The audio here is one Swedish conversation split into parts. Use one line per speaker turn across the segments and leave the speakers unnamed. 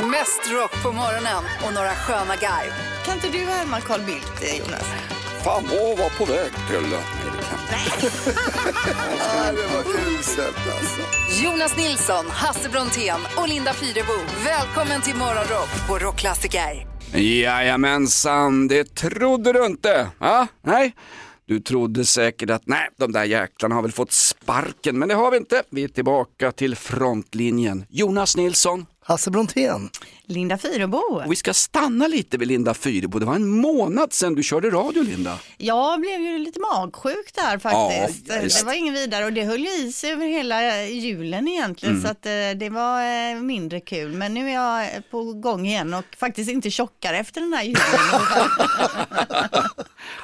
Mest rock på morgonen och några sköna garv.
Kan inte du härma Carl Bildt, eh, Jonas?
Fan vad var på väg till... Nej, det var uselt alltså.
Jonas Nilsson, Hasse Brontén och Linda Fyrebo. Välkommen till Morgonrock på Rockklassiker.
Jajamensan, det trodde du inte. Va? Nej? Du trodde säkert att nej, de där jäklarna har väl fått sparken, men det har vi inte. Vi är tillbaka till frontlinjen. Jonas Nilsson,
Hasse Brontén.
Linda Fyrebo.
och vi ska stanna lite vid Linda Fyrebo. Det var en månad sedan du körde radio, Linda.
Jag blev ju lite magsjuk där faktiskt.
Ja, visst.
det var ingen vidare och det höll ju i sig över hela eh, julen egentligen
Mm.
så att eh, det var eh, mindre kul. Men nu är jag eh, på gång igen och faktiskt inte tjockare efter den här julen.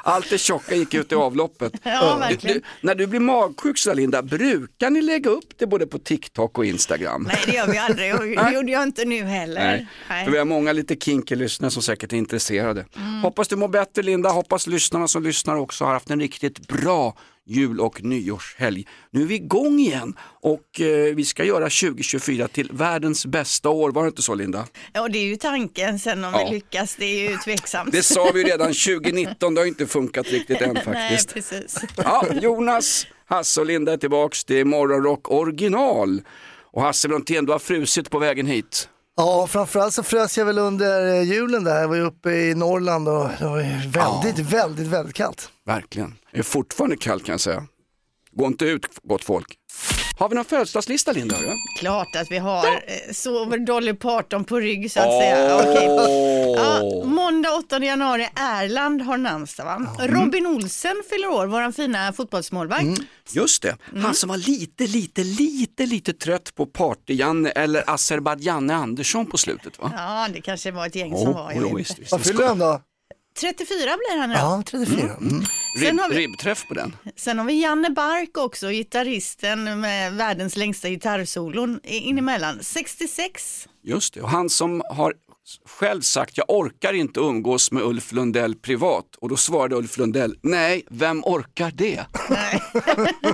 Allt det tjocka gick ut i avloppet.
Ja,
Du,
verkligen.
du, när du blir magsjuk så där, Linda, brukar ni lägga upp det både på TikTok och Instagram?
Nej, det gör vi aldrig och det gjorde jag inte nu heller.
Nej. För vi har många lite kinky lyssnare som säkert är intresserade. Hoppas du mår bättre Linda, hoppas lyssnarna som lyssnar också har haft en riktigt bra jul och nyårshelg. Nu är vi igång igen och eh, vi ska göra 2024 till världens bästa år, var det inte så Linda?
Ja, det är ju tanken sen om
Ja.
vi lyckas, det är ju tveksamt.
Det sa vi ju redan 2019, det har inte funkat riktigt än
Nej,
faktiskt.
precis.
Ja, Jonas, Hasse och Linda är tillbaks, det är morgonrock original. Och Hasse Brontén, du har frusit på vägen hit.
Ja, framförallt så frös jag väl under eh, julen där. Jag var ju uppe i Norrland och det var ju väldigt, väldigt, väldigt kallt.
Verkligen. Det är fortfarande kallt kan jag säga. Gå inte ut gott folk. Har vi någon födelsedagslista Linda? eller?
Klart att vi har. eh, Sover Dolly Parton på rygg så att säga. Okej. Ja, måndag 8 januari, Erland har namnsdag va?
Mm.
Robin Olsen fyller år, våran fina fotbollsmålvakt.
Just det,
Mm.
han som var lite, lite, lite, lite trött på Party-Janne eller Azerbajdzjanne Andersson på slutet va?
Ja, det kanske var ett gäng
Oh,
som var. Jag
jo,
vet
visst,
inte.
visst.
Vad fyller han då?
34 blir han idag.
Ja, 34. Mm.
Ribb,
Sen har vi-
Ribbträff på den.
Sen har vi Janne Bark också, gitarristen med världens längsta gitarrsolon i- in emellan. 66.
Just det, och han som har själv sagt jag orkar inte umgås med Ulf Lundell privat och då svarade Ulf Lundell nej, vem orkar det?
Nej.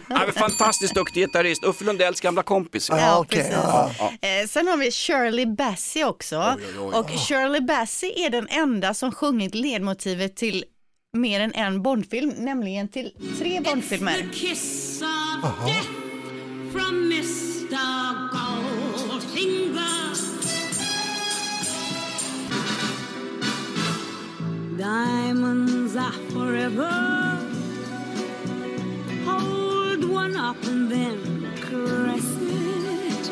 Han är en fantastiskt duktig gitarrist, Ulf Lundells gamla kompis.
Ja,
Ja,
okej,
precis.
ja,
Eh, sen har vi Shirley Bassey också. Och Shirley Bassey är den enda som sjungit ledmotivet till mer än en Bondfilm, nämligen till tre Bondfilmer.
The kiss of death from Mr. Goldfinger. Diamonds are forever. Hold one up and then caress it.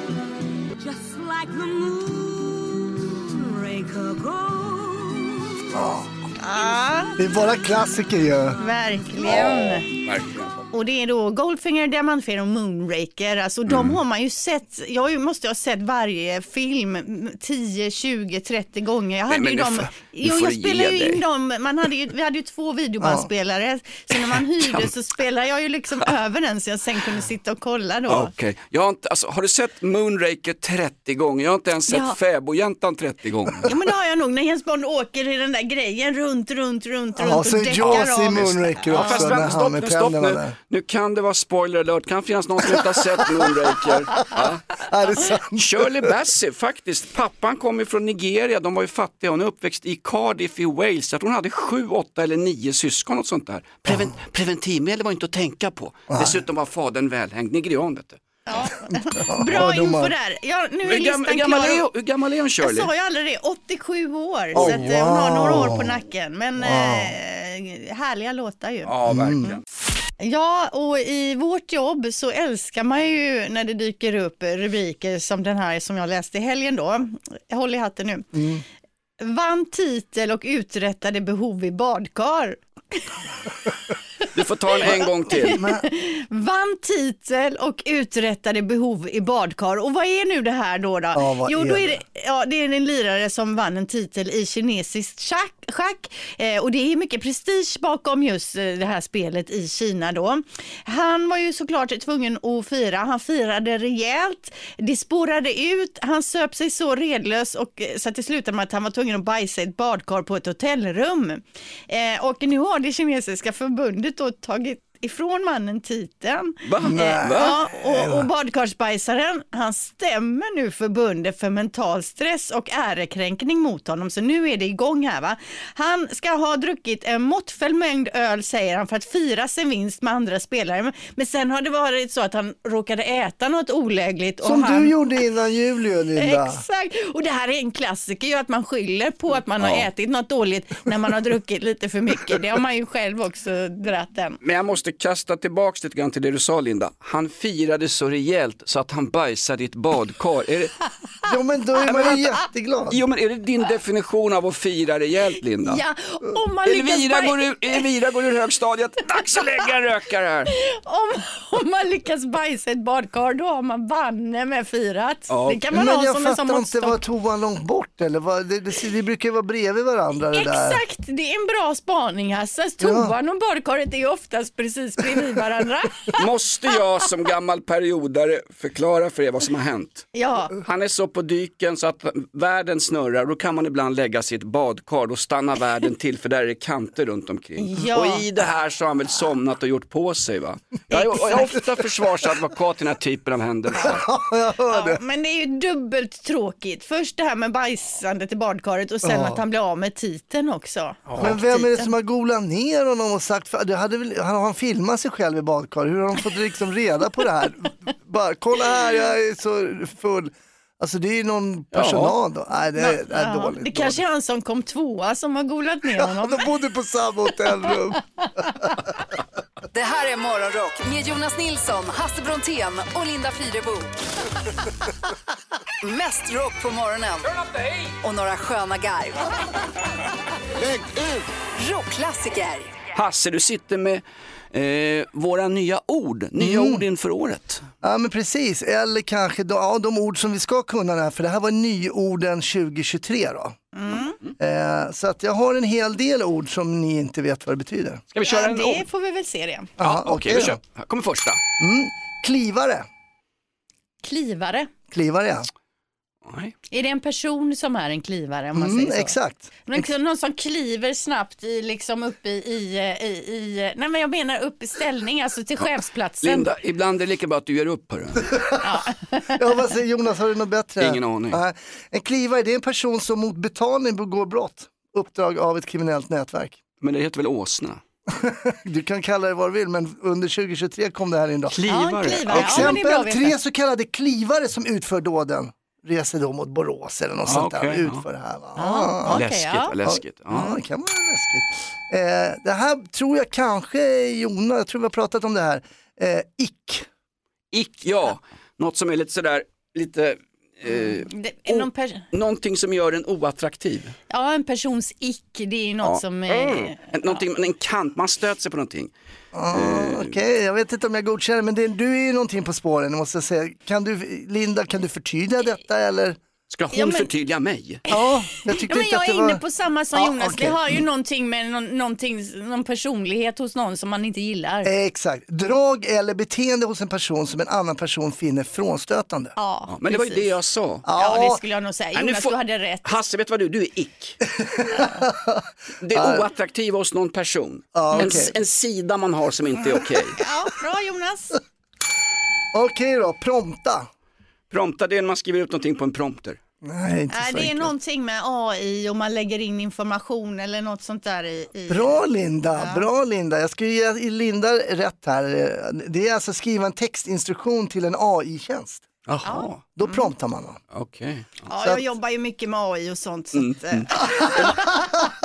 Just like the moon, raker gold.
Ah.
Det är bara klassiker ju.
Verkligen.
Verkligen.
Och det är då Goldfinger, Diamantfeber och Moonraker. Alltså
Mm.
de har man ju sett. Jag har ju- måste ju ha sett varje film m, 10, 20, 30 gånger. Jag hade
men
ju
nu
dem.
får- nu
jo,
får
jag
du
spelade ju
ge
in
dig.
dem. Man hade ju, vi hade ju två videobandspelare. Så när man hyrde så spelade jag ju liksom över den så jag sen kunde sitta och kolla då.
Okej, jag har, inte, alltså, har du sett Moonraker 30 gånger? Jag har inte ens sett
Ja.
Fäbodjäntan 30 gånger.
Ja men det har jag nog när Jens Bond åker i den där grejen runt, runt, runt,
Ja,
runt och
så är Jaws
däckar
i
av.
Moonraker
Ja,
också
fast
när
vänta, stopp
han
nu,
med
stopp
tänderna
nu.
där.
Nu kan det vara spoiler alert, kan finnas någon som inte har sett Moonraker. Ja.
Ja, det är sant.
Shirley Bassey faktiskt, pappan kom ju från Nigeria, de var ju fattiga, hon är uppväxt i Cardiff i Wales, jag tror hon hade sju, åtta eller nio syskon och sånt där. Preven- Preventivmedel var inte att tänka på, dessutom var fadern välhängd, nigerian vet du.
Bra info
domar.
där. Ja, nu är
Hur, gam- hur,
listan
gammal
klar.
är, hon- hur gammal är hon
Jag
Shirley?
sa ju aldrig det, 87 år. så att, eh, hon har några år på nacken. Men eh, härliga låtar ju. Ja.
Ja, verkligen.
och i vårt jobb så älskar man ju när det dyker upp rubriker som den här som jag läste i helgen då. Håll i hatten nu.
Mm.
Vann titel och uträttade behov i badkar.
Du får ta den en gång till.
Vann titel och uträttade behov i badkar. Och vad är nu det här då? då?
Ja, vad
jo,
är
då är det, ja, det är en lirare som vann en titel i kinesiskt schack. schack. Eh, och det är mycket prestige bakom just eh, det här spelet i Kina då. Han var ju såklart tvungen att fira. Han firade rejält. Det spårade ut. Han söp sig så redlös och eh, så att det slutade med att han var tvungen att bajsa i ett badkar på ett hotellrum. Eh, och nu har det kinesiska förbundet då tagit ifrån mannen titeln.
Va?
Eh,
Va?
Ja, och, och badkarsbajsaren, han stämmer nu förbundet för mental stress och ärekränkning mot honom, så nu är det igång här va. Han ska ha druckit en måttfull mängd öl säger han för att fira sin vinst med andra spelare, men, men sen har det varit så att han råkade äta något olägligt. Och
Som
han...
du gjorde innan jul ju, Linda.
Exakt, och det här är en klassiker ju att man skyller på att man har ätit något dåligt när man har druckit lite för mycket. Det har man ju själv också dratt den.
Men jag måste kasta tillbaks lite grann till det du sa Linda. Han firade så rejält så att han bajsade i ett badkar. Är det,
Jo men då är
men
man ju
vänta.
jätteglad.
jo men är det din definition av att fira rejält Linda?
Ja, om man lyckas
Elvira,
baj-
går ur, Elvira går ur högstadiet, dags att lägga en rökare här.
om, om man lyckas bajsa i ett badkar då har man banne med firat.
Ja.
Det kan man
Men
ha
jag
som en
liksom
sån
fattar inte,
måttstock.
var toan långt bort eller? Vad- Det, det, det brukar ju vara bredvid varandra det där.
Exakt, det är en bra spaning Hasse. Toan och badkaret är oftast precis bredvid varandra.
Måste jag som gammal periodare förklara för er vad som har hänt?
ja,
Han är så på dyken så att världen snurrar, då kan man ibland lägga sig i ett badkar, då stannar världen till för där är det kanter runt omkring.
Ja.
Och i det här så har han väl somnat och gjort på sig va? Jag är, jag är ofta försvarsadvokat i den här typen av händelser.
ja, men det är ju dubbelt tråkigt. Först det här med bajsandet i badkaret och sen att han blir av med titeln också.
Men vem är det som har golat ner honom och sagt, för, det hade väl, han, han filmar sig själv i badkar, hur har de fått liksom reda på det här? Bara, kolla här, jag är så full. Alltså det är ju någon personal då. Nej, det är, det är
Ja,
dåligt.
det kanske är han som kom tvåa som har golat ner honom.
dåligt. De bodde på samma hotellrum.
Det här är Morgonrock med Jonas Nilsson, Hasse Brontén och Linda Fyrebo. Mest rock på morgonen och några sköna garv. Rockklassiker.
Hasse, du sitter med eh, våra nya ord, nya
Mm.
ord inför året.
Ja men precis, eller kanske då, ja, de ord som vi ska kunna här, för det här var nyorden 2023 då.
Mm.
Eh, så att jag har en hel del ord som ni inte vet vad det betyder.
Ska vi köra
Ja,
en
det får vi väl se det.
Ja,
Okej, vi kör. Här kommer första.
Klivare,
Klivare.
klivare ja.
Nej.
Är det en person som är en klivare om man
Mm,
säger så?
exakt.
Men så- någon som kliver snabbt i, liksom upp i, i, eh, i, i, nej men jag menar upp i ställning, alltså till chefsplatsen.
Linda, ibland är det lika bra att du gör upp. Hörru.
Ja, vad säger Jonas, har du något bättre?
Ingen aning.
Nej. En klivare, det är en person som mot betalning begår brott. Uppdrag av ett kriminellt nätverk.
Men det heter väl åsna?
Du kan kalla det vad du vill, men under 2023 kom det här in då.
Ja, en klivare. Ja, men det är
Exempel,
bra att veta.
tre så kallade klivare som utför dåden. Reser då mot Borås eller något
Ja,
sånt där.
okej, ja.
Utför det här. Va? Ah.
Okej,
läskigt,
ja.
vad läskigt.
Ja,
Ja.
det kan vara läskigt. Eh, det här tror jag kanske, Jonas, jag tror vi har pratat om det här. Eh, ick.
Ick, ja. Något som är lite sådär, lite, eh,
Det, är
Oh.
någon per,
någonting som gör en oattraktiv.
ja, en persons ick, det är ju något
Ja.
som...
Mm.
Eh,
En, någonting, en kant, man stöter sig på någonting.
Ah, Okej, jag vet inte om jag godkänner, men det, du är ju någonting på spåren måste jag säga. Kan du, Linda, kan du förtydliga detta eller?
Ska hon
Ja, men-
förtydliga mig?
Ja, jag
Ja,
tyckte
men
inte
jag
att det
är
var...
inne på samma som
Ja,
Jonas,
okej.
det har ju någonting med någon, någonting, någon personlighet hos någon som man inte gillar.
Eh, Exakt, drag eller beteende hos en person som en annan person finner frånstötande.
ja,
Ja, men det var ju
precis.
det jag sa.
Ja, det skulle jag nog säga.
Ja, nu
Jonas,
får-
du hade rätt.
Hasse, vet du vad du är? Du är ick. Det är oattraktiva hos någon person.
Ja,
en,
okej.
en sida man har som inte är okej.
Ja, bra Jonas.
Okej då, prompta.
Prompta, det är när man skriver ut någonting på en prompter.
Nej, inte
Nej,
så
det är
enkelt.
någonting med AI och man lägger in information eller något sånt där i... i...
Bra Linda, bra Linda. Jag ska ge Linda rätt här. Det är alltså skriva en textinstruktion till en AI-tjänst.
Jaha,
Då
Mm.
promptar man honom.
okej.
Ja,
Så
jag
att- Mm,
jobbar ju mycket med AI och sånt. Så att, eh,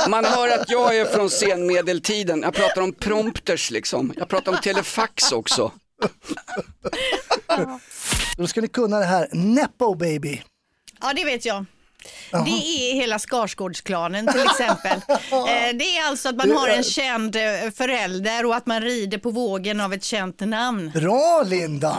Man hör att jag är från senmedeltiden. Jag pratar om prompters liksom. Jag pratar om telefax också.
Då ska ni kunna det här. Nepo baby.
Ja, det vet jag. Det är hela Skarsgårdsklanen till exempel. Eh, det är alltså att man har en känd eh, förälder och att man rider på vågen av ett känt namn.
Bra Linda!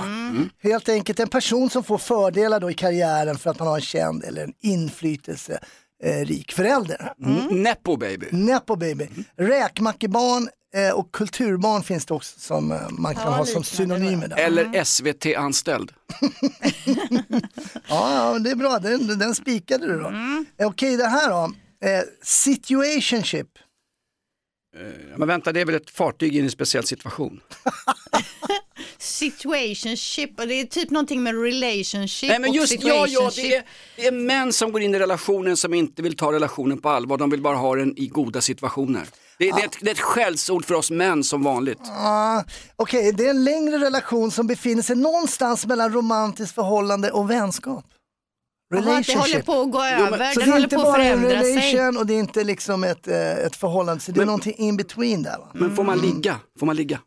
Helt enkelt en person som får fördelar då i karriären för att man har en känd eller en inflytelserik förälder.
Nepo baby.
Nepo baby. Räkmackebarn eh, och kulturbarn finns det också som eh, man kan ha som synonymer. Där.
Eller SVT-anställd.
Ja, ja, det är bra, den, den
Mm.
spikade du då. Eh, Okej, det här då. Eh, situationship.
Men vänta, det är väl ett fartyg i en speciell situation?
Situationship, och det är typ någonting med relationship
Nej men just,
och
ja, ja,
situationship.
det är, det är män som går in i relationen som inte vill ta relationen på allvar, de vill bara ha den i goda situationer. Det, det, är, ett, det är ett skällsord för oss män som vanligt.
Ah, Okej, det är en längre relation som befinner sig någonstans mellan romantiskt förhållande och vänskap.
Jaha, att det håller på att gå över,
Så det
den
är
håller
inte
på att
bara en
förändra sig.
relation och det är inte liksom ett, eh, ett förhållande, så det är någonting in between där. Va?
Men får man ligga? Får man ligga?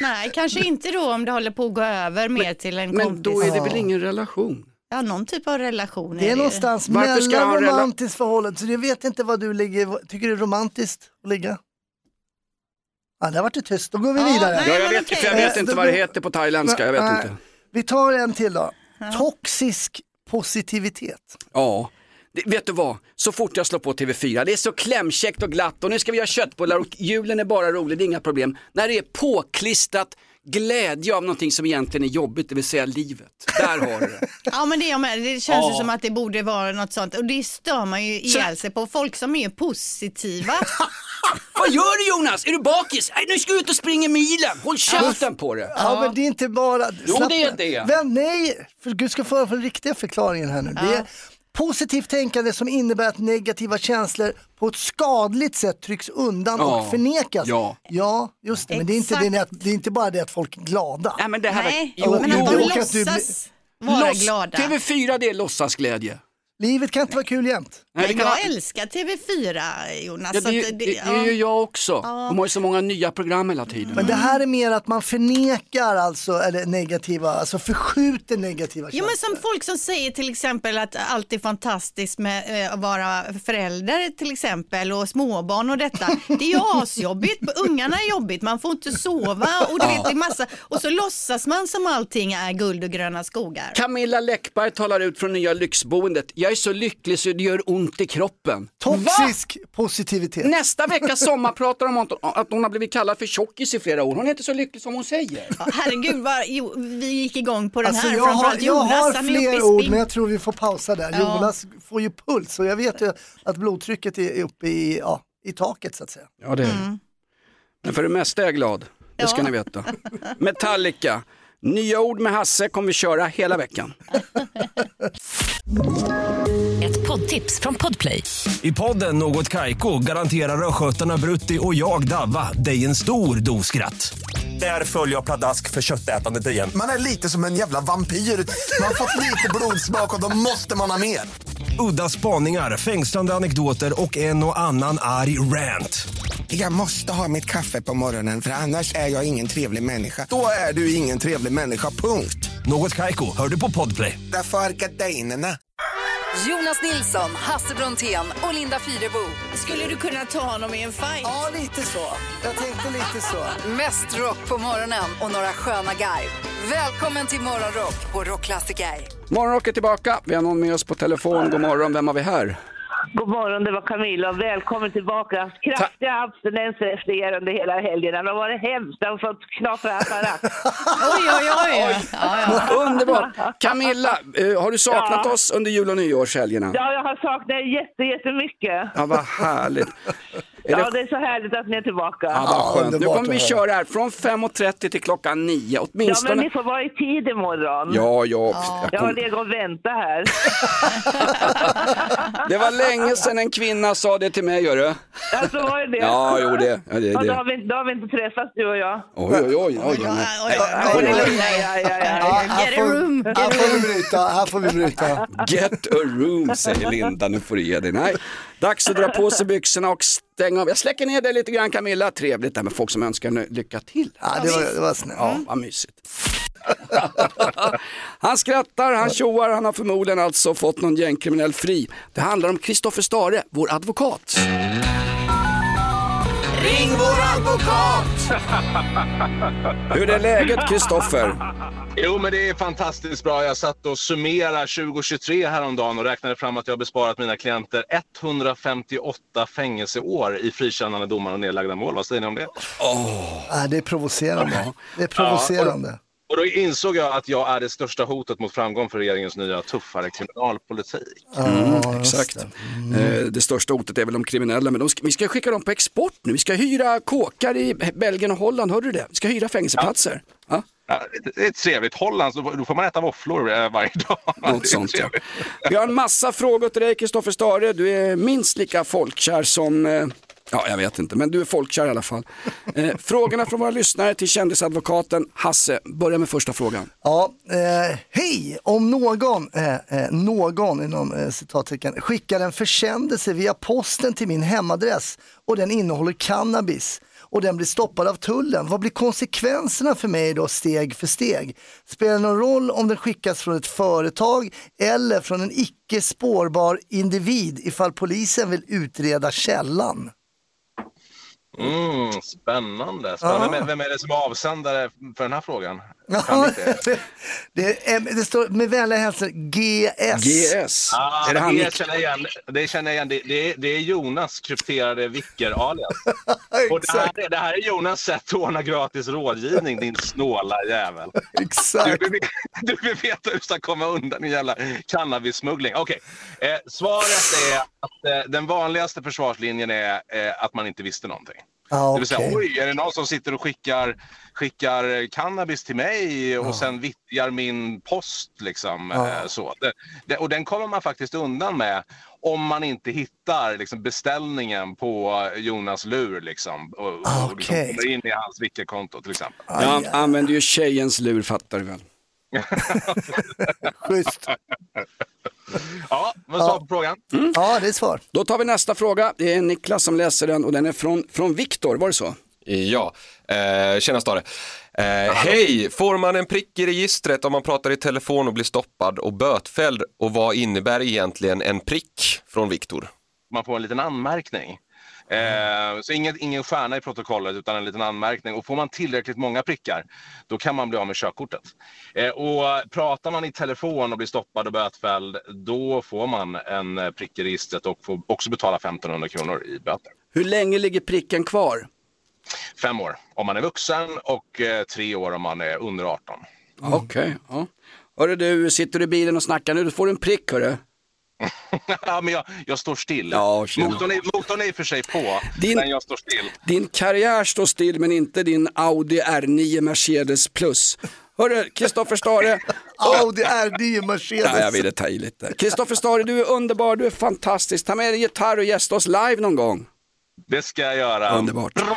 Nej, kanske inte då om det håller på att gå över mer till en
Men
kompis.
då är det väl ingen relation?
Ja, någon typ av relation
Det är
ju.
någonstans
Varför ska
mellan
han rela-
romantiskt förhållande, så jag vet inte vad du ligger, tycker du är romantiskt att ligga? Ja, där vart det tyst, då går vi
Ja,
vidare.
nej.
Ja, jag
men
vet,
okej.
för jag vet
Eh,
inte
då-
vad det heter på thailändska, jag
Nej.
vet inte.
Vi tar en till då. Toxisk positivitet.
Ja. Det, vet du vad, så fort jag slår på TV4, det är så klämkäckt och glatt och nu ska vi göra köttbullar och julen är bara rolig, det är inga problem. När det är påklistrat glädje av någonting som egentligen är jobbigt, det vill säga livet. Där har du det.
Ja men det är jag med. Det känns ju
Ja.
som att det borde vara något sånt och det stör man ju ihjäl sig på. Folk som är positiva.
Vad gör du Jonas? Är du bakis? Nej, nu ska jag ut och springa milen. Håll käften på det.
Ja, men det är inte bara...
Jo,
slapp-
det är det.
Vem, nej, för du ska få den riktiga förklaringen här nu. Det är positivt tänkande som innebär att negativa känslor på ett skadligt sätt trycks undan
Ja.
och förnekas.
Ja.
ja, just det. Men det är, inte,
Exakt.
det, att, det är inte bara det att folk är glada.
Nej men det här
Nej,
var...
men att de
jo, och att du
låtsas vara
Loss-
glada.
TV4 det är låtsasglädje.
Livet kan inte vara kul jämt.
Nej, det
Men
kan
jag
vara-
älskar TV4 Jonas.
Ja, det, är ju-
så att
det, det är ju jag också. De har ju så många nya program hela tiden.
Men det här är mer att man förnekar alltså, eller negativa, alltså förskjuter negativa
Jo
känslor.
men som folk som säger till exempel att allt är fantastiskt med eh, att vara förälder till exempel och småbarn och detta. Det är ju asjobbigt, ungarna är jobbigt, man får inte sova och du vet, det är massa. Och så låtsas man som allting är guld och gröna skogar.
Camilla Läckberg talar ut från nya lyxboendet. Jag är så lycklig så det gör ont i kroppen.
Toxisk positivitet.
Nästa vecka sommar pratar om att hon har blivit kallad för tjockis i flera år. Hon är inte så lycklig som hon säger.
Ja, Herregud, vad, jo, vi gick igång på den
Alltså
här.
jag har,
Framförallt
jag
Jonas,
har
han är uppe i
fler ord
spinn.
men jag tror vi får pausa där. Jonas får ju puls och jag vet ju att blodtrycket är uppe i, ja, i taket så att säga.
Ja, det är det.
Mm.
Men för det mesta är jag glad. Det ska
Ja.
ni veta. Metallica. Nya ord med Hasse kommer vi köra hela veckan.
Ett poddtips från Podplay.
I podden Något Kaiko garanterar östgötarna Brutti och jag, Davva, dig en stor dos skratt. Där följer jag pladask för köttätandet igen.
Man är lite som en jävla vampyr. Man har fått lite blodsmak och då måste man ha mer.
Udda spaningar, fängslande anekdoter och en och annan arg rant.
Jag måste ha mitt kaffe på morgonen för annars är jag ingen trevlig människa. Då är du ingen trevlig människa, punkt.
Något Kaiko, hör du på Podplay.
Därför är gardinerna.
Jonas Nilsson, Hasse Brontén och Linda Fyrebo.
Skulle du kunna ta honom i en fight?
Ja lite så. Jag tänkte lite så.
Mest rock på morgonen och några sköna guide. Välkommen till Morgonrock på Rockklassiker.
Morgonrock är tillbaka. Vi har någon med oss på telefon. God morgon, vem har vi här?
God morgon, det var Camilla. Välkommen tillbaka. Kraftiga abstinenser efter er under hela helgen. Det har varit hemskt. Jag har fått knapra apparat.
Oj, oj, oj. Ja, ja.
Underbart! Camilla, eh, har du saknat oss under jul och nyårshelgerna?
Ja, jag har saknat er jätte, jättemycket.
Ja, vad härligt. Är
Ja, det är så härligt att ni är tillbaka.
Ja, vad
Ja,
skönt. Nu
underbart
kommer vi
att höra.
köra här från 5.30 till klockan 9
Ja, men
åtminstone.
ni får vara i tid imorgon.
Ja, ja.
Jag
Jag
har
kom...
legat och väntat här.
Det var länge sedan en kvinna sa det till mig, gör du.
Ja, så var ju det.
Ja, jo det. Ja, det,
Ja, då,
det.
har vi, då har vi inte träffats du och jag.
Oj, oj, oj. oj,
Ja,
oj.
oj, oj, oj, oj, oj.
Ja, ja, ja.
Ja, här,
Get a
får,
room,
här får vi bryta. Här får vi bryta.
Get a room, säger Linda. Nu får du ge dig. Nej, dags att dra på sig byxorna och stänga av. Jag släcker ner dig lite grann Camilla. Trevligt det här med folk som önskar nu- lycka till.
Ja, det, var, det var snällt.
Ja, vad mysigt. han skrattar, han tjoar, han har förmodligen alltså fått någon gängkriminell fri. Det handlar om Kristoffer Stare, vår advokat. Ring vår advokat! Hur är läget Kristoffer?
Jo, men det är fantastiskt bra. Jag satt och summerade 2023 häromdagen och räknade fram att jag har besparat mina klienter 158 fängelseår i frikännande domar och nedlagda mål. Vad säger ni om det?
Ja, det är provocerande. Det är provocerande.
Och då insåg jag att jag är det största hotet mot framgång för regeringens nya tuffare kriminalpolitik.
Mm, exakt. Eh, Det största hotet är väl de kriminella, men de ska, vi ska skicka dem på export nu. Vi ska hyra kåkar i Belgien och Holland, hörde du det? Vi ska hyra fängelseplatser. Ja.
Ja, det- Det är trevligt. Holland, så då får man äta våfflor eh, varje dag.
Något sånt, ja. Vi har en massa frågor till dig, Kristoffer Stare. Du är minst lika folkkär som eh, Ja, jag vet inte, men du är folkkär i alla fall. Eh, frågorna från våra lyssnare till kändisadvokaten Hasse. Börja med första frågan.
Ja, eh, hej! Om någon, eh, eh, någon inom eh, citattecken, skickar en försändelse via posten till min hemadress och den innehåller cannabis och den blir stoppad av tullen, vad blir konsekvenserna för mig då steg för steg? Spelar det någon roll om den skickas från ett företag eller från en icke spårbar individ ifall polisen vill utreda källan?
Mm, spännande. spännande. Vem, vem är det som är avsändare för den här frågan?
det, det, är- eh, det står med vänliga hälsningar GS.
Ah, det, känner jag igen. det känner jag igen. Det, det, är, det är Jonas krypterade vicker-alias. Och det, här, är- det här är Jonas sätt att ordna gratis rådgivning, din snåla jävel.
Exakt.
Du vill, du vill veta hur du ska komma undan din jävla cannabissmuggling. Okej, eh, svaret är att eh, den vanligaste försvarslinjen är eh, att man inte visste någonting.
Ah,
Det vill säga,
okej.
oj, är det någon som sitter och skickar, skickar cannabis till mig och sen vittjar min post? Liksom,
Ja.
eh, så. Det, det, och den kommer man faktiskt undan med om man inte hittar liksom, beställningen på Jonas lur. Liksom, och, och liksom,
Okej.
kommer in i hans vickerkonto till exempel.
Jag an- använder ju tjejens lur, fattar du väl?
Schysst.
Ja, vad sa på frågan?
Ja, det är svar.
Då tar vi nästa fråga. Det är Niklas som läser den och den är från, från Viktor, var det så?
Ja, eh, tjena Stare. Eh, hej, får man en prick i registret om man pratar i telefon och blir stoppad och bötfälld och vad innebär egentligen en prick från Viktor?
man får en liten anmärkning. Eh, så inget, ingen stjärna i protokollet utan en liten anmärkning. Och får man tillräckligt många prickar då kan man bli av med körkortet. Eh, och pratar man i telefon och blir stoppad och bötfälld då får man en eh, prick i registret och får också betala 1500 kronor i böter.
Hur länge ligger pricken kvar?
Fem år om man är vuxen och eh, tre år om man är under 18.
Okej, ja. Hörru du, sitter du i bilen och snackar nu, då får du en prick hörru.
ja, men jag, jag står still.
Ja, tjena.
motorn, är, motorn är i och för sig på,
Din-
men jag står still.
Din karriär står still men inte din Audi R9 Mercedes plus. Hörru, Kristoffer Stare.
Audi R9 Mercedes.
Nej, jag ville ta i lite. Kristoffer Stare, du är underbar, du är fantastisk. Ta med dig gitarr och gästa oss live någon gång.
Det ska jag göra.
Underbart.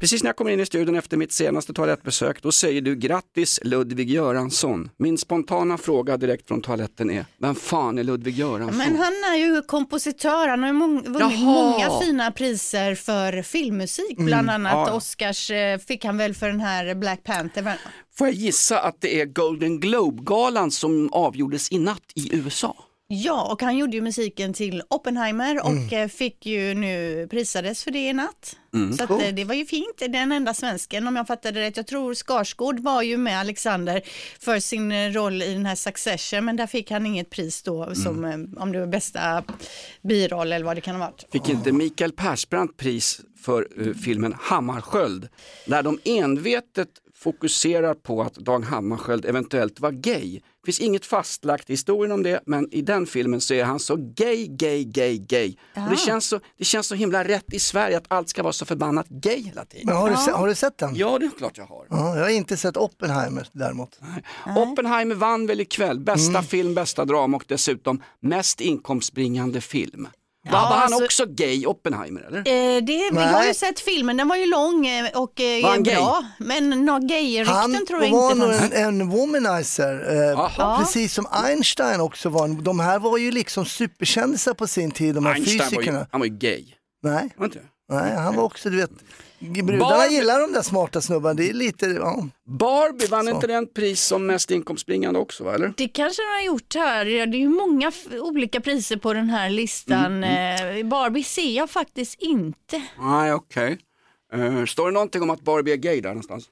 Precis när jag kommer in i studion efter mitt senaste toalettbesök, då säger du grattis Ludvig Göransson. Min spontana fråga direkt från toaletten är, vem fan är Ludvig Göransson?
Men han är ju kompositör, han har ju mång- vunnit
Jaha.
många fina priser för filmmusik, bland
Mm,
annat
ja.
Oscars eh, fick han väl för den här Black Panther. va?
Får jag gissa att det är Golden Globe-galan som avgjordes i natt i USA?
Ja, och han gjorde ju musiken till Oppenheimer och
Mm.
eh, fick ju nu prisades för det i natt.
Mm.
Så att,
Cool.
eh, det var ju fint, den enda svensken om jag fattade rätt. Jag tror Skarsgård var ju med Alexander för sin eh, roll i den här Succession, men där fick han inget pris då som
Mm.
eh, om det var bästa biroll eller vad det kan ha varit.
Fick inte Mikael Persbrandt pris för eh, filmen Hammarskjöld? Där de envetet fokuserar på att Dag Hammarskjöld eventuellt var gay. finns inget fastlagt i historien om det, men i den filmen så är han så gay, gay, gay, gay. Och det, känns så, det känns så himla rätt i Sverige att allt ska vara så förbannat gay hela tiden.
Men har, du, se- har du sett den?
Ja, det är klart jag har.
Ja, jag har inte sett Oppenheimer däremot.
Oppenheimer vann väl ikväll, bästa film, bästa drama och dessutom mest inkomstbringande film. var, var han
alltså-
också gay, Oppenheimer? Eller?
Eh, det, jag har ju
Nej.
sett filmen, den var ju lång eh, och eh,
Var han
bra. Men några gayrykten
Han
tror jag
var
inte
nog
fanns.
en, en womanizer, eh, precis som Einstein också var. en- De här var ju liksom superkändisar på sin tid, de här
Einstein var ju,
fysikerna.
han var ju gay.
Nej,
Var inte det?
nej, han var också, du vet, brudarna
Barbie-
gillar de där smarta snubbarna, det är lite, ja.
Barbie vann
Så.
inte den pris som mest inkomstbringande också va, eller?
Det kanske de har gjort här. Det är ju många f- olika priser på den här listan. Eh, Barbie ser jag faktiskt inte.
Nej okej. Eh, står det någonting om att Barbie är gay där någonstans?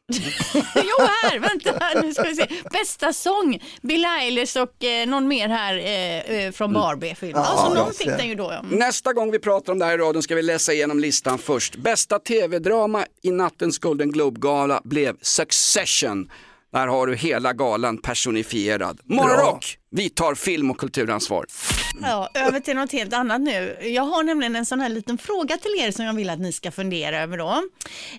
Jo, här, vänta, nu ska vi se. Bästa sång, Bill Eilish och eh, någon mer här eh, eh, från Barbie-filmen.
Ja,
alltså, någon
just
fick
det.
den ju då. Ja.
Nästa gång vi pratar om det här i radion ska vi läsa igenom listan först. Bästa tv-drama i nattens Golden Globe-gala blev Succession. Där har du hela galan personifierad. Morgonrock! Vi tar film och kulturansvar.
Ja, över till något helt annat nu. Jag har nämligen en sån här liten fråga till er som jag vill att ni ska fundera över då. Eh,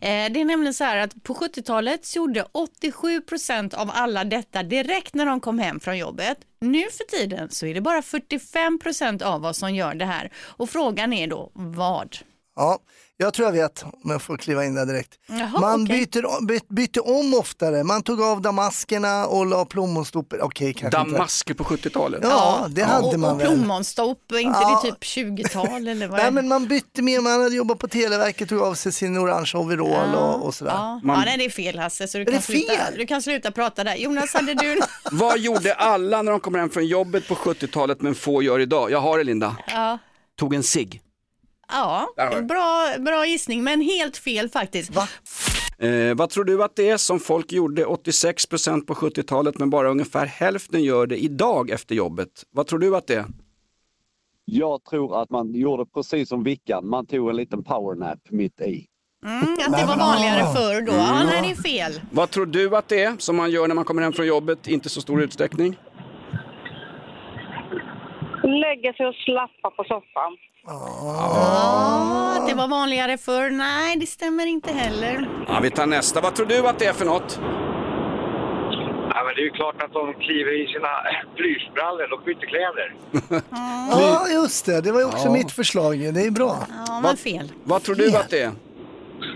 det är nämligen så här att på 70-talet så gjorde 87 procent av alla detta direkt när de kom hem från jobbet. Nu för tiden så är det bara 45 procent av oss som gör det här. Och frågan är då vad?
Ja, jag tror jag vet om jag får kliva in där direkt.
Jaha,
man
okej.
byter, by, bytte om oftare, man tog av damaskerna och la plommonstopar. Okej, kanske inte.
Damasker på 70-talet?
Ja, det hade
och,
man
och
väl.
plommonstopp, är inte
Ja.
det typ 20-tal eller vad? är
Nej,
det?
men man bytte mer, man hade jobbat på Televerket, tog av sig sin orange overall och, och sådär.
Ja, ja, nej, det är fel Hasse, så du
det
kan, sluta,
fel?
du kan sluta prata där. Jonas, hade du...
Vad gjorde alla när de kom hem från jobbet på 70-talet men få gör idag? Jag har det Linda.
ja.
Tog en cigg.
Ja,
Där har du.
bra, bra gissning, men helt fel faktiskt.
Eh, vad tror du att det är som folk gjorde 86% på 70-talet men bara ungefär hälften gör det idag efter jobbet? Vad tror du att det är?
Jag tror att man gjorde precis som Vickan, man tog en liten powernap mitt i.
Mm, att det var vanligare förr då. Ja,
Mm.
nej, det är fel.
Vad tror du att det är som man gör när man kommer hem från jobbet, inte så stor utsträckning?
Lägga sig och slappa på soffan.
Ja, att det var vanligare förr. Nej, det stämmer inte heller.
Ja, vi tar nästa. Vad tror du att det är för något?
Ja, men det är ju klart att de kliver i sina plyschbrallor, de byter kläder.
Ja, just det. Det var ju också
Ja.
mitt förslag. Det är bra.
Ja, men fel.
Vad tror du att det är?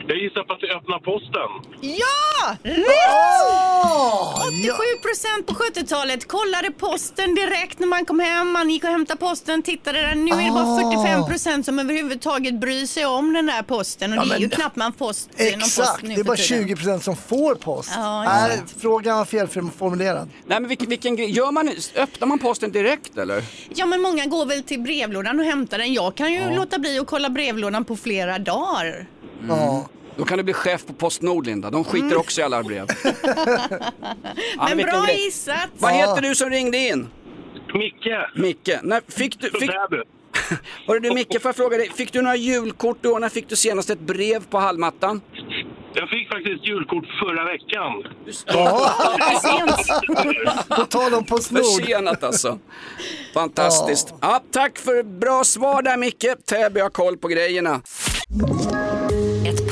Jag gissar på att det öppnar posten.
Ja! Rätt! 87 procent på 70-talet kollade posten direkt när man kom hem. Man gick och hämtade posten, tittade där. Nu är det
Ah.
bara 45 procent som överhuvudtaget bryr sig om den där posten. Och
Ja,
det är ju
men-
knappt man post, någon post
Exakt,
nu
det är bara
för tiden.
20 procent som får post.
Ja,
Nej,
exakt.
frågan var felformulerad.
Nej, men vilken, vilken grej? Gör man, öppnar man posten direkt eller?
Ja men många går väl till brevlådan och hämtar den. Jag kan ju låta bli att kolla brevlådan på flera dagar.
Ja.
Då kan du bli chef på Postnord, Linda. De skiter också i alla brev. Ja,
Mm. men
vilken
bra
grej.
gissat!
Vad heter du som ringde in? Micke. Micke. När fick du... Fick... Hörru du Micke, får jag fråga dig, fick du några julkort i år? När fick du senast ett brev på hallmattan?
Jag fick faktiskt julkort förra veckan.
På tal om Postnord.
Försenat alltså. Fantastiskt. Ja, tack för bra svar där Micke. Täby har koll på grejerna.
Ett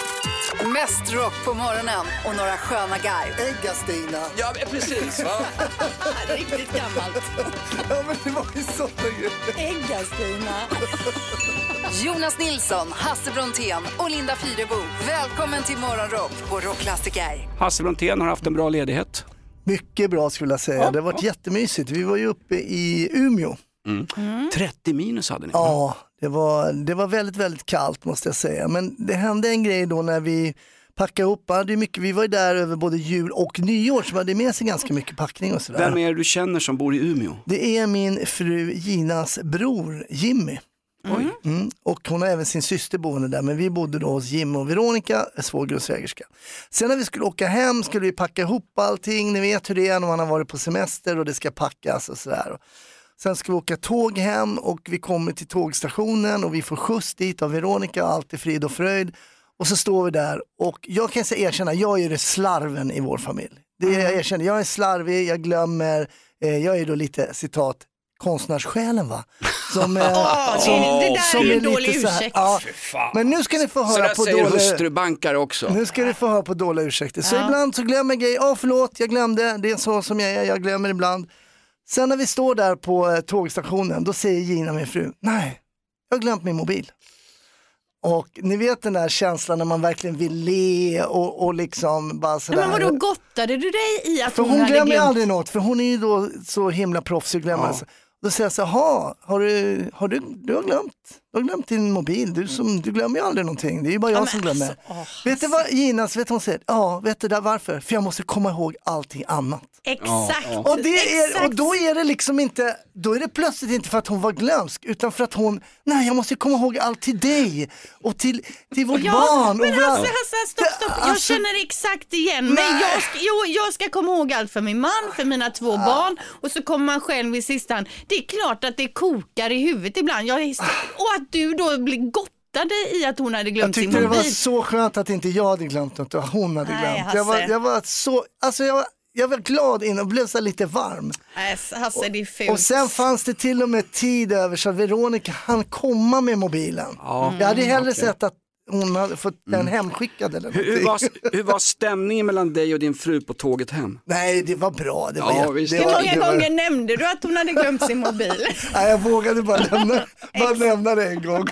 Mest rock på morgonen och några sköna guide.
Äggastina.
Ja, precis. Va?
Riktigt gammalt.
ja, men det var ju sådana grejer.
Äggastina. Jonas Nilsson, Hasse Brontén och Linda Fyrebo. Välkommen till Morgonrock på Rockklassiker.
Hasse Brontén har haft en bra ledighet.
Mycket bra skulle jag säga. det har varit jättemysigt. Vi var ju uppe i Umeå.
30 minus hade ni.
Ja, det var, det var väldigt, väldigt kallt måste jag säga. Men det hände en grej då när vi packade ihop. Man hade ju mycket, vi var ju där över både jul och nyår så man hade med sig ganska mycket packning och sådär.
Vem är det du känner som bor i Umeå?
Det är min fru Ginas bror Jimmy. Mm. Och hon har även sin syster boende där, men vi bodde då hos Jimmy och Veronica, svåger och svägerska. Sen när vi skulle åka hem skulle vi packa ihop allting, ni vet hur det är när man har varit på semester och det ska packas och sådär. Sen ska vi åka tåg hem och vi kommer till tågstationen och vi får skjuts dit av Veronica, allt är frid och fröjd. Och så står vi där och jag kan säga erkänna, jag är ju slarven i vår familj. Det
Mm.
är, jag erkänner, jag är slarvig, jag glömmer, eh, jag är då lite citat konstnärssjälen va? Som, eh,
Åh, det- det där är ju en
lite
dålig
så här-
ursäkt.
Ja, men nu ska ni få
Så
höra
där
på
säger
dålig...
hustrubankare också.
Nu ska du få höra på dåliga ursäkter. Så
Ja.
ibland så glömmer jag grejer. Ja, förlåt, jag glömde. Det är så som jag är, jag glömmer ibland. Sen när vi står där på eh, tågstationen, då säger Gina, min fru, nej, jag har glömt min mobil. Och ni vet den där känslan när man verkligen vill le och, och liksom bara
Nej,
sådär.
men vadå, gottade du dig i att
För hon,
hade
glömmer
glömt?
aldrig något, för hon är ju då så himla proffsig. Ja. Då säger jag så här, "Ha, har du, har du, du, har glömt, du har glömt din mobil, du, som, du glömmer ju aldrig någonting, det är ju bara jag som glömmer.
alltså,
vet du vad Ginas, vet du vad hon säger? Ja, vet du där varför? För jag måste komma ihåg allting annat.
Exakt.
Ja. Och, det är, och då är det liksom inte, då är det plötsligt inte för att hon var glömsk utan för att hon, nej jag måste komma ihåg allt till dig och till, till vårt
Ja,
barn.
Men
och vår-
alltså, alltså, stopp, stopp. Jag
alltså-
känner exakt igen mig.
Nej. Ah.
Jag ska, jo, jag ska komma ihåg allt för min man, för mina två barn och så kommer man själv i sista hand. Det är klart att det kokar i huvudet ibland. Jag,
Ah.
är- och att du då blir gottade i att hon hade
Jag
glömt sin
tyckte det
mobil.
var så skönt att inte jag hade glömt något och hon hade
Nej,
glömt. Jag var,
Hasse.
jag var så, alltså jag var, jag var glad in och blev så här lite varm.
Nej, Hasse, det är fult.
Och sen fanns det till och med tid över så att Veronica hann komma med mobilen.
Ja.
Jag hade hellre
Mm, okej. Mm.
sett att hon hade fått den hemskickad eller
Hur, hur,
någonting.
var, hur var stämningen mellan dig och din fru på tåget hem?
Nej, det var bra. Det var
Ja,
jätte-
visst.
det
Hur
var-
många
det var-
gånger nämnde du att hon hade glömt sin mobil?
Nej, jag vågade bara nämna, bara nämna det en gång.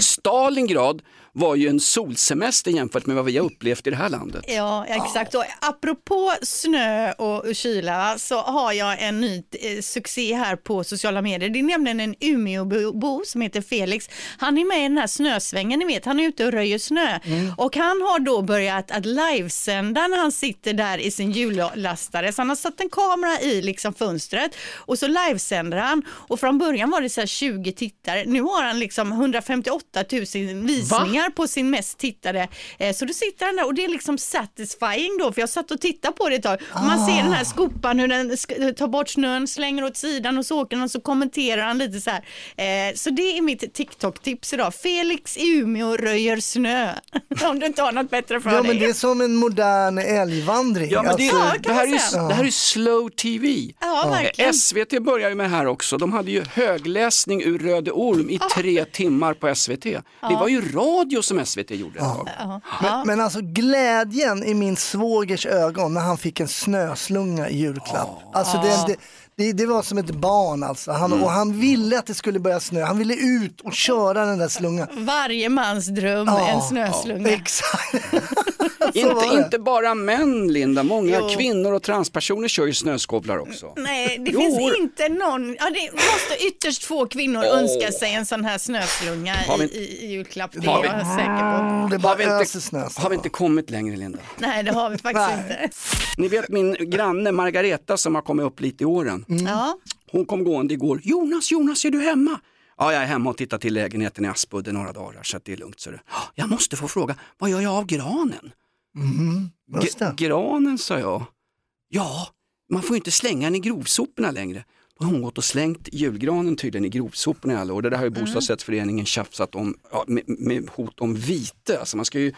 Stalingrad var ju en solsemester jämfört med vad vi har upplevt i det här landet.
Ja, exakt. Och apropå snö och kyla va, så har jag en ny eh, succé här på sociala medier. Det är nämligen en Umeåbo som heter Felix. Han är med i den här snösvängen, ni vet. Han är ute och röjer snö. Och han har då börjat att livesända när han sitter där i sin hjullastare. Så han har satt en kamera i liksom fönstret och så livesänder han. Och från början var det så här 20 tittare. Nu har han liksom 158 000 visningar på sin mest tittade. Eh, Så då sitter han där och det är liksom satisfying då för jag satt och tittade på det ett tag. Och man
Ah.
ser den här skopan hur den sk- eh, tar bort snön, slänger åt sidan och så åker den och så kommenterar han lite så här. Eh, Så det är mitt TikTok-tips idag. Felix i Umeå röjer snö. Om du inte har något bättre för
Ja,
dig.
men det är som en modern älgvandring.
Ja, men det,
Alltså-
det, här är, ju- det här är ju slow TV.
Ja, verkligen.
SVT börjar ju med det här också. De hade ju högläsning ur Röde Orm i tre timmar på SVT. Det var ju radio som SVT gjorde ett tag.
Men, men alltså glädjen i min svågers ögon när han fick en snöslunga i julklapp. Alltså det, det, det, det var som ett barn alltså. Han, Och han ville att det skulle börja snö. Han ville ut och köra den där slungan.
Varje mans dröm,
Ja.
en snöslunga.
Exakt.
Inte,
var det.
inte bara män, Linda. Många
Jo.
kvinnor och transpersoner kör ju snöskovlar också.
Nej, det
Jo.
finns inte någon. Ja, det måste ytterst få kvinnor
Åh.
önska sig en sån här snöslunga
Har vi-
i, i, i julklapp. Det
har
är
vi-
jag säker på.
Det
har, vi inte, har vi inte kommit längre, Linda?
Nej, det har vi faktiskt inte.
Ni vet min granne Margareta som har kommit upp lite i åren.
Ja.
Hon kom gående igår. Jonas, Jonas, är du hemma? Ja, jag är hemma och tittar till lägenheten i Aspudden några dagar så att det är lugnt. Så det. Jag måste få fråga, vad gör jag av granen?
Mm, just det.
G- granen, sa jag. Ja, man får ju inte slänga den i grovsoporna längre. Då har hon gått och slängt julgranen tydligen i grovsoporna i alla år. Det där har ju bostadsrättsföreningen tjafsat om ja, med, med hot om vite. Alltså man ska ju eh,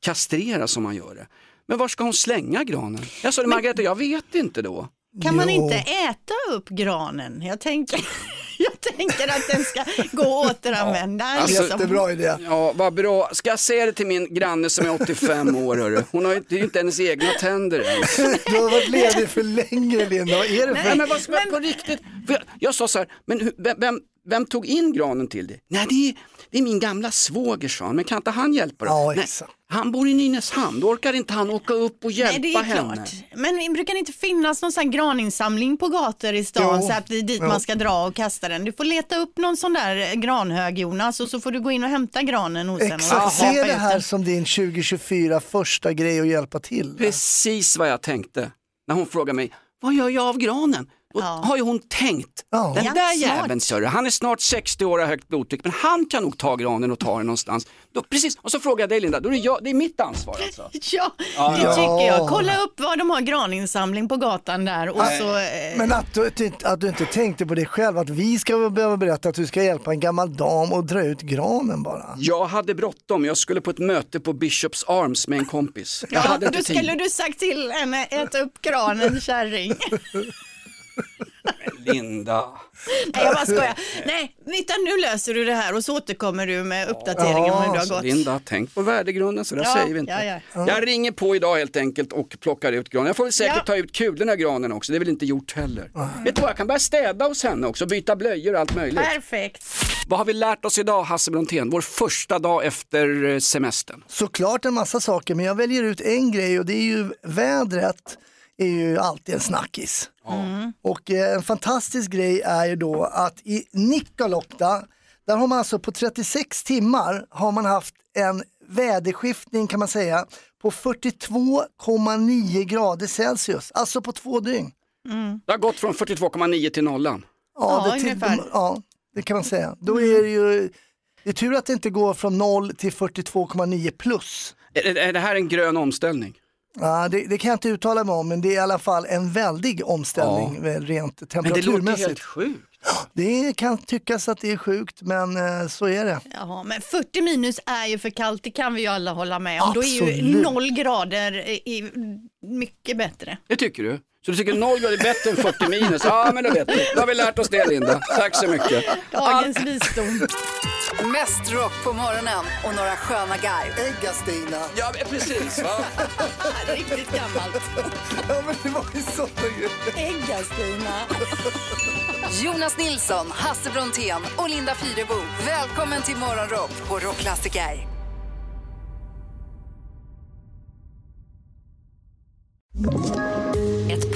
kastrera som man gör det. Men var ska hon slänga granen? Jag sa till Margareta, jag vet inte då.
Kan man inte äta upp granen? Jag tänker, jag tänker att den ska gå att återanvända.
Alltså,
liksom.
idé.
Ja, vad bra. Ska jag säga det till min granne som är 85 år? Hörru? Hon har ju det är ju inte hennes egna tänder ens.
Du har varit ledig för länge Linda. Vad är det för...
Nej, men vad ska man på riktigt? För jag, jag sa så här, men hur- vem, vem, vem tog in granen till dig? Nej, det är, det är min gamla svåger, sa han, men kan inte han hjälpa dig?
Ja,
Nej,
exakt.
han bor i Nynäshamn, då orkar inte han åka upp och hjälpa
Nej, det är
henne.
klart. Men brukar det inte finnas någon sån här graninsamling på gator i stan
Jo.
så att det är dit
Jo.
man ska dra och kasta den? Du får leta upp någon sån där granhög Jonas och så får du gå in och hämta granen hos den. och
Exakt,
släpa
se det
ut
här
den.
som din 2024 första grej att hjälpa till.
Precis vad jag tänkte när hon frågade mig, vad gör jag av granen? Då har ju hon tänkt, den
Ja,
där
smart.
jäveln sörre, han är snart 60 år och har högt blodtryck, men han kan nog ta granen och ta den någonstans. Då, precis, och så frågade jag dig Linda, då är det, jag, det är mitt ansvar alltså.
Ja,
Ja,
det
ja.
tycker jag. Kolla upp var de har graninsamling på gatan där och
Nej.
så... eh,
Men att du, att, du, inte- att du inte tänkte på det själv, att vi ska behöva berätta att du ska hjälpa en gammal dam och dra ut granen bara.
Jag hade bråttom, jag skulle på ett möte på Bishops Arms med en kompis. Jag
Ja,
hade
då
inte
skulle
tid.
du sagt till henne, äta upp granen kärring.
Linda.
Nej, jag bara skojar. Nej, utan nu löser du det här och så återkommer du med uppdateringen om hur det har gått.
Linda, tänk på värdegrunden så där
Ja,
säger vi inte.
ja, ja. Ja.
Jag ringer på idag helt enkelt och plockar ut granen. Jag får väl säkert
Ja.
ta ut kulorna i granen också, det är väl inte gjort heller. Vet du vad, jag kan börja städa hos henne också, byta blöjor och allt möjligt.
Perfekt.
Vad har vi lärt oss idag Hasse Brontén? Vår första dag efter eh, semestern.
Såklart en massa saker, men jag väljer ut en grej och det är ju vädret är ju alltid en snackis. Och eh, en fantastisk grej är ju då att i Nikkaluokta, där har man alltså på 36 timmar har man haft en väderskiftning kan man säga på 42,9 grader Celsius, alltså på två dygn.
Det har gått från 42,9 till nollan.
Ja, det, till, de- ja, det kan man säga. Då är det ju, det är tur att det inte går från 0 till 42,9 plus.
Är, är det här en grön omställning?
Ja, det, det kan jag inte uttala mig om, men det är i alla fall en väldig omställning
Ja.
väl rent
Men det låter helt
temperaturmässigt.
sjukt.
Det, kan tyckas att det är sjukt, men eh, så är det.
Ja, men 40 minus är ju för kallt, det kan vi ju alla hålla med om. Då är ju
Absolut.
noll grader i, i, mycket bättre.
Det tycker du? Så du tycker 0 grader är bättre än 40 minus? Ja, men då vet du. Då har vi lärt oss det Linda. Tack så mycket.
Dagens visdom.
Mest rock på morgonen och några sköna guide.
Äggastina.
Ja, men precis. Va?
Riktigt gammalt.
ja, men det var ju sådana
grejer. Äggastina. Jonas Nilsson, Hasse Brontén och Linda Fyrebo. Välkommen till Morgonrock på Rockklassiker.
Ett